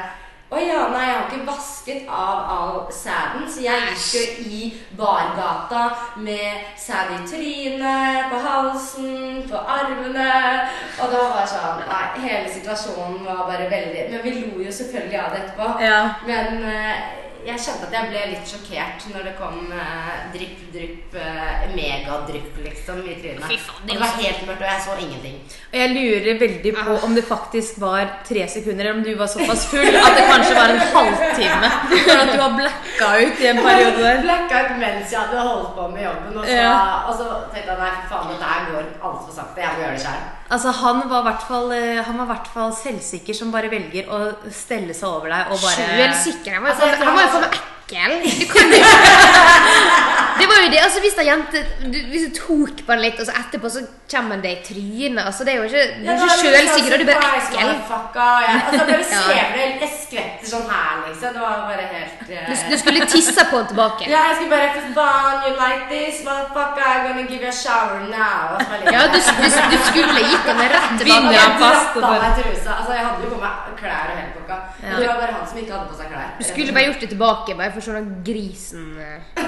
Speaker 2: å ja, nei, jeg har ikke vasket av all sæden, så jeg gikk jo i bargata med sæd i trynet, på halsen, på armene. Og da var det sånn Nei, hele situasjonen var bare veldig Men vi lo jo selvfølgelig av det etterpå. Men eh, jeg kjente at jeg ble litt sjokkert når det kom eh, drypp, drypp, eh, megadrypp, liksom, i trynet.
Speaker 3: Fy
Speaker 2: og
Speaker 3: faen, det
Speaker 2: det
Speaker 3: var-
Speaker 2: var helt mørkt, og jeg så ingenting.
Speaker 3: Og jeg lurer veldig på om det faktisk var tre sekunder, eller om du var såpass full at det kanskje var en halvtime. For at du har blacka ut i en periode der.
Speaker 2: Blacka ut mens jeg hadde holdt på med jobben. Og så,
Speaker 3: Ja.
Speaker 2: og så tenkte jeg nei, for faen, dette her går altfor sakte. Jeg må gjøre det selv
Speaker 3: Altså, han var i hvert fall, eh, han var i hvert fall selvsikker som bare velger å stelle seg over deg og bare
Speaker 1: Selvsikker? Han var jo
Speaker 3: Altså, jeg
Speaker 1: faen-
Speaker 3: tror
Speaker 1: han var jo
Speaker 3: han-
Speaker 1: faen meg ekkel. Du kan jo Det var jo det. altså Hvis ei jente du, Hvis du tok på den litt, og så etterpå så kommer det i trynet altså, Det er jo ikke Du er ikke
Speaker 2: liksom sånn
Speaker 1: selvsikker, og du er bare ekkel.
Speaker 2: Jeg, altså, dere ser
Speaker 1: Ja.
Speaker 2: det, jeg skvetter sånn her, liksom. Det var bare helt eh,
Speaker 1: Du, du skulle tisse på den tilbake.
Speaker 2: Ja, jeg skulle bare For faen, you like this? Motherfucker, I'm gonna give you a shower now. Og så bare litt-
Speaker 1: Ja, du, du, du skulle gitt henne rett tilbake.
Speaker 2: Og jeg dratt av meg
Speaker 1: Du
Speaker 2: trusa. Altså, jeg hadde jo på meg klær og hele pakka. Men
Speaker 1: Ja.
Speaker 2: Det var bare han som ikke hadde på seg klær.
Speaker 1: skulle bare gjort det tilbake, bare for sånn grisen eh.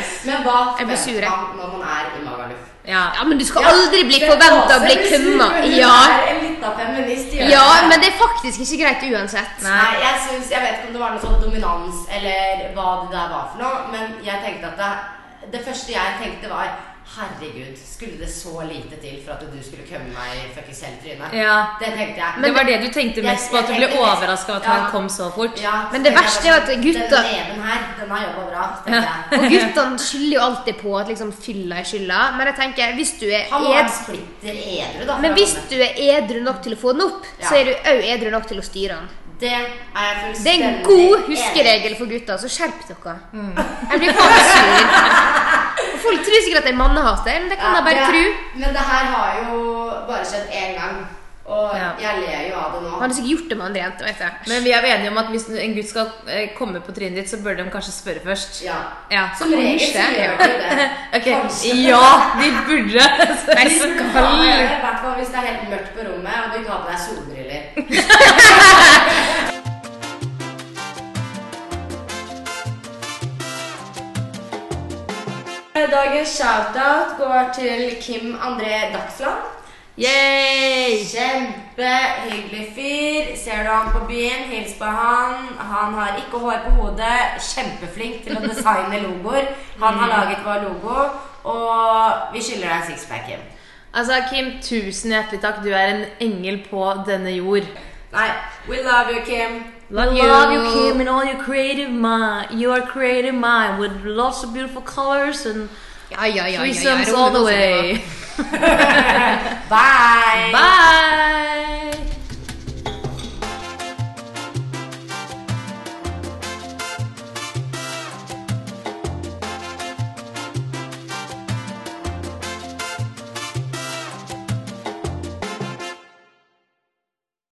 Speaker 2: Men hva
Speaker 1: Jeg blir sur,
Speaker 2: forventer
Speaker 1: jeg.
Speaker 2: man når man er i Magaluf?
Speaker 1: Ja. men du skal
Speaker 2: Ja,
Speaker 1: aldri bli
Speaker 2: det
Speaker 1: forventa
Speaker 2: passer
Speaker 1: å bli
Speaker 2: med
Speaker 1: kømma.
Speaker 2: sur, men hun
Speaker 1: Ja.
Speaker 2: er en liten feminist, gjør
Speaker 1: ja,
Speaker 2: det.
Speaker 1: men det er faktisk ikke greit uansett.
Speaker 2: Nei, jeg synes, jeg vet ikke om det var noe sånn dominans eller hva det der var for noe, men jeg tenkte at det, det første jeg tenkte var Herregud, skulle det så lite til for at du skulle kømme meg i fuckings hele trynet?
Speaker 3: Ja.
Speaker 2: Det tenkte jeg.
Speaker 3: Men det var det du tenkte mest på, at du ble overrasket over at han kom så fort.
Speaker 1: Men det verste er at gutter-
Speaker 2: Den leven her, den har jobba bra, tenkte jeg.
Speaker 1: Og guttene skylder jo alltid på at liksom fylla er skylda, men jeg tenker hvis du er
Speaker 2: Han må være
Speaker 1: ed-
Speaker 2: splitter edru, da. for
Speaker 1: Men
Speaker 2: å
Speaker 1: hvis
Speaker 2: komme.
Speaker 1: du er edru nok til å få den opp, så
Speaker 2: Ja.
Speaker 1: er du òg edru nok til å styre den.
Speaker 2: Det er jeg fullstendig
Speaker 1: Det er en god
Speaker 2: enig Mm. i.
Speaker 1: huskeregel for gutta, så skjerp dere. Jeg blir faen sur. Og Folk tror sikkert at jeg er mannehater, men det kan
Speaker 2: Ja,
Speaker 1: de bare
Speaker 2: det-
Speaker 1: tro.
Speaker 2: Men det her har jo bare skjedd én gang, og jeg ler jo av det nå.
Speaker 1: Han hadde sikkert gjort det med andre jenter, vet jeg.
Speaker 3: Men vi er jo enige om at hvis en gutt skal eh, komme på trynet ditt, så bør de kanskje spørre først.
Speaker 2: Ja.
Speaker 1: Som regel så gjør de det.
Speaker 3: Ok,
Speaker 1: Kanskje.
Speaker 3: Ja, de burde.
Speaker 2: Men du kan gjøre det, I hvert fall hvis det er helt mørkt på rommet, og du ikke har på deg solbriller. Dagens shoutout går til Kim André Dagsland. Yay! Kjempehyggelig fyr. Ser du han på byen, hils på han. Han har ikke hår på hodet. Kjempeflink til å designe logoer. Han har laget vår logo, og vi skylder deg sixpacken.
Speaker 3: Altså, Kim, tusen hjertelig takk. Du er en engel på denne jord.
Speaker 2: Nei, we love you, Kim.
Speaker 3: Love you. Kim, and all your creative mind. Your creative mind with lots of beautiful colors and
Speaker 1: ja, ja, ja, ja,
Speaker 3: threesomes
Speaker 1: jeg er
Speaker 3: all the
Speaker 1: ungdom,
Speaker 3: way.
Speaker 1: Bye!
Speaker 3: Bye!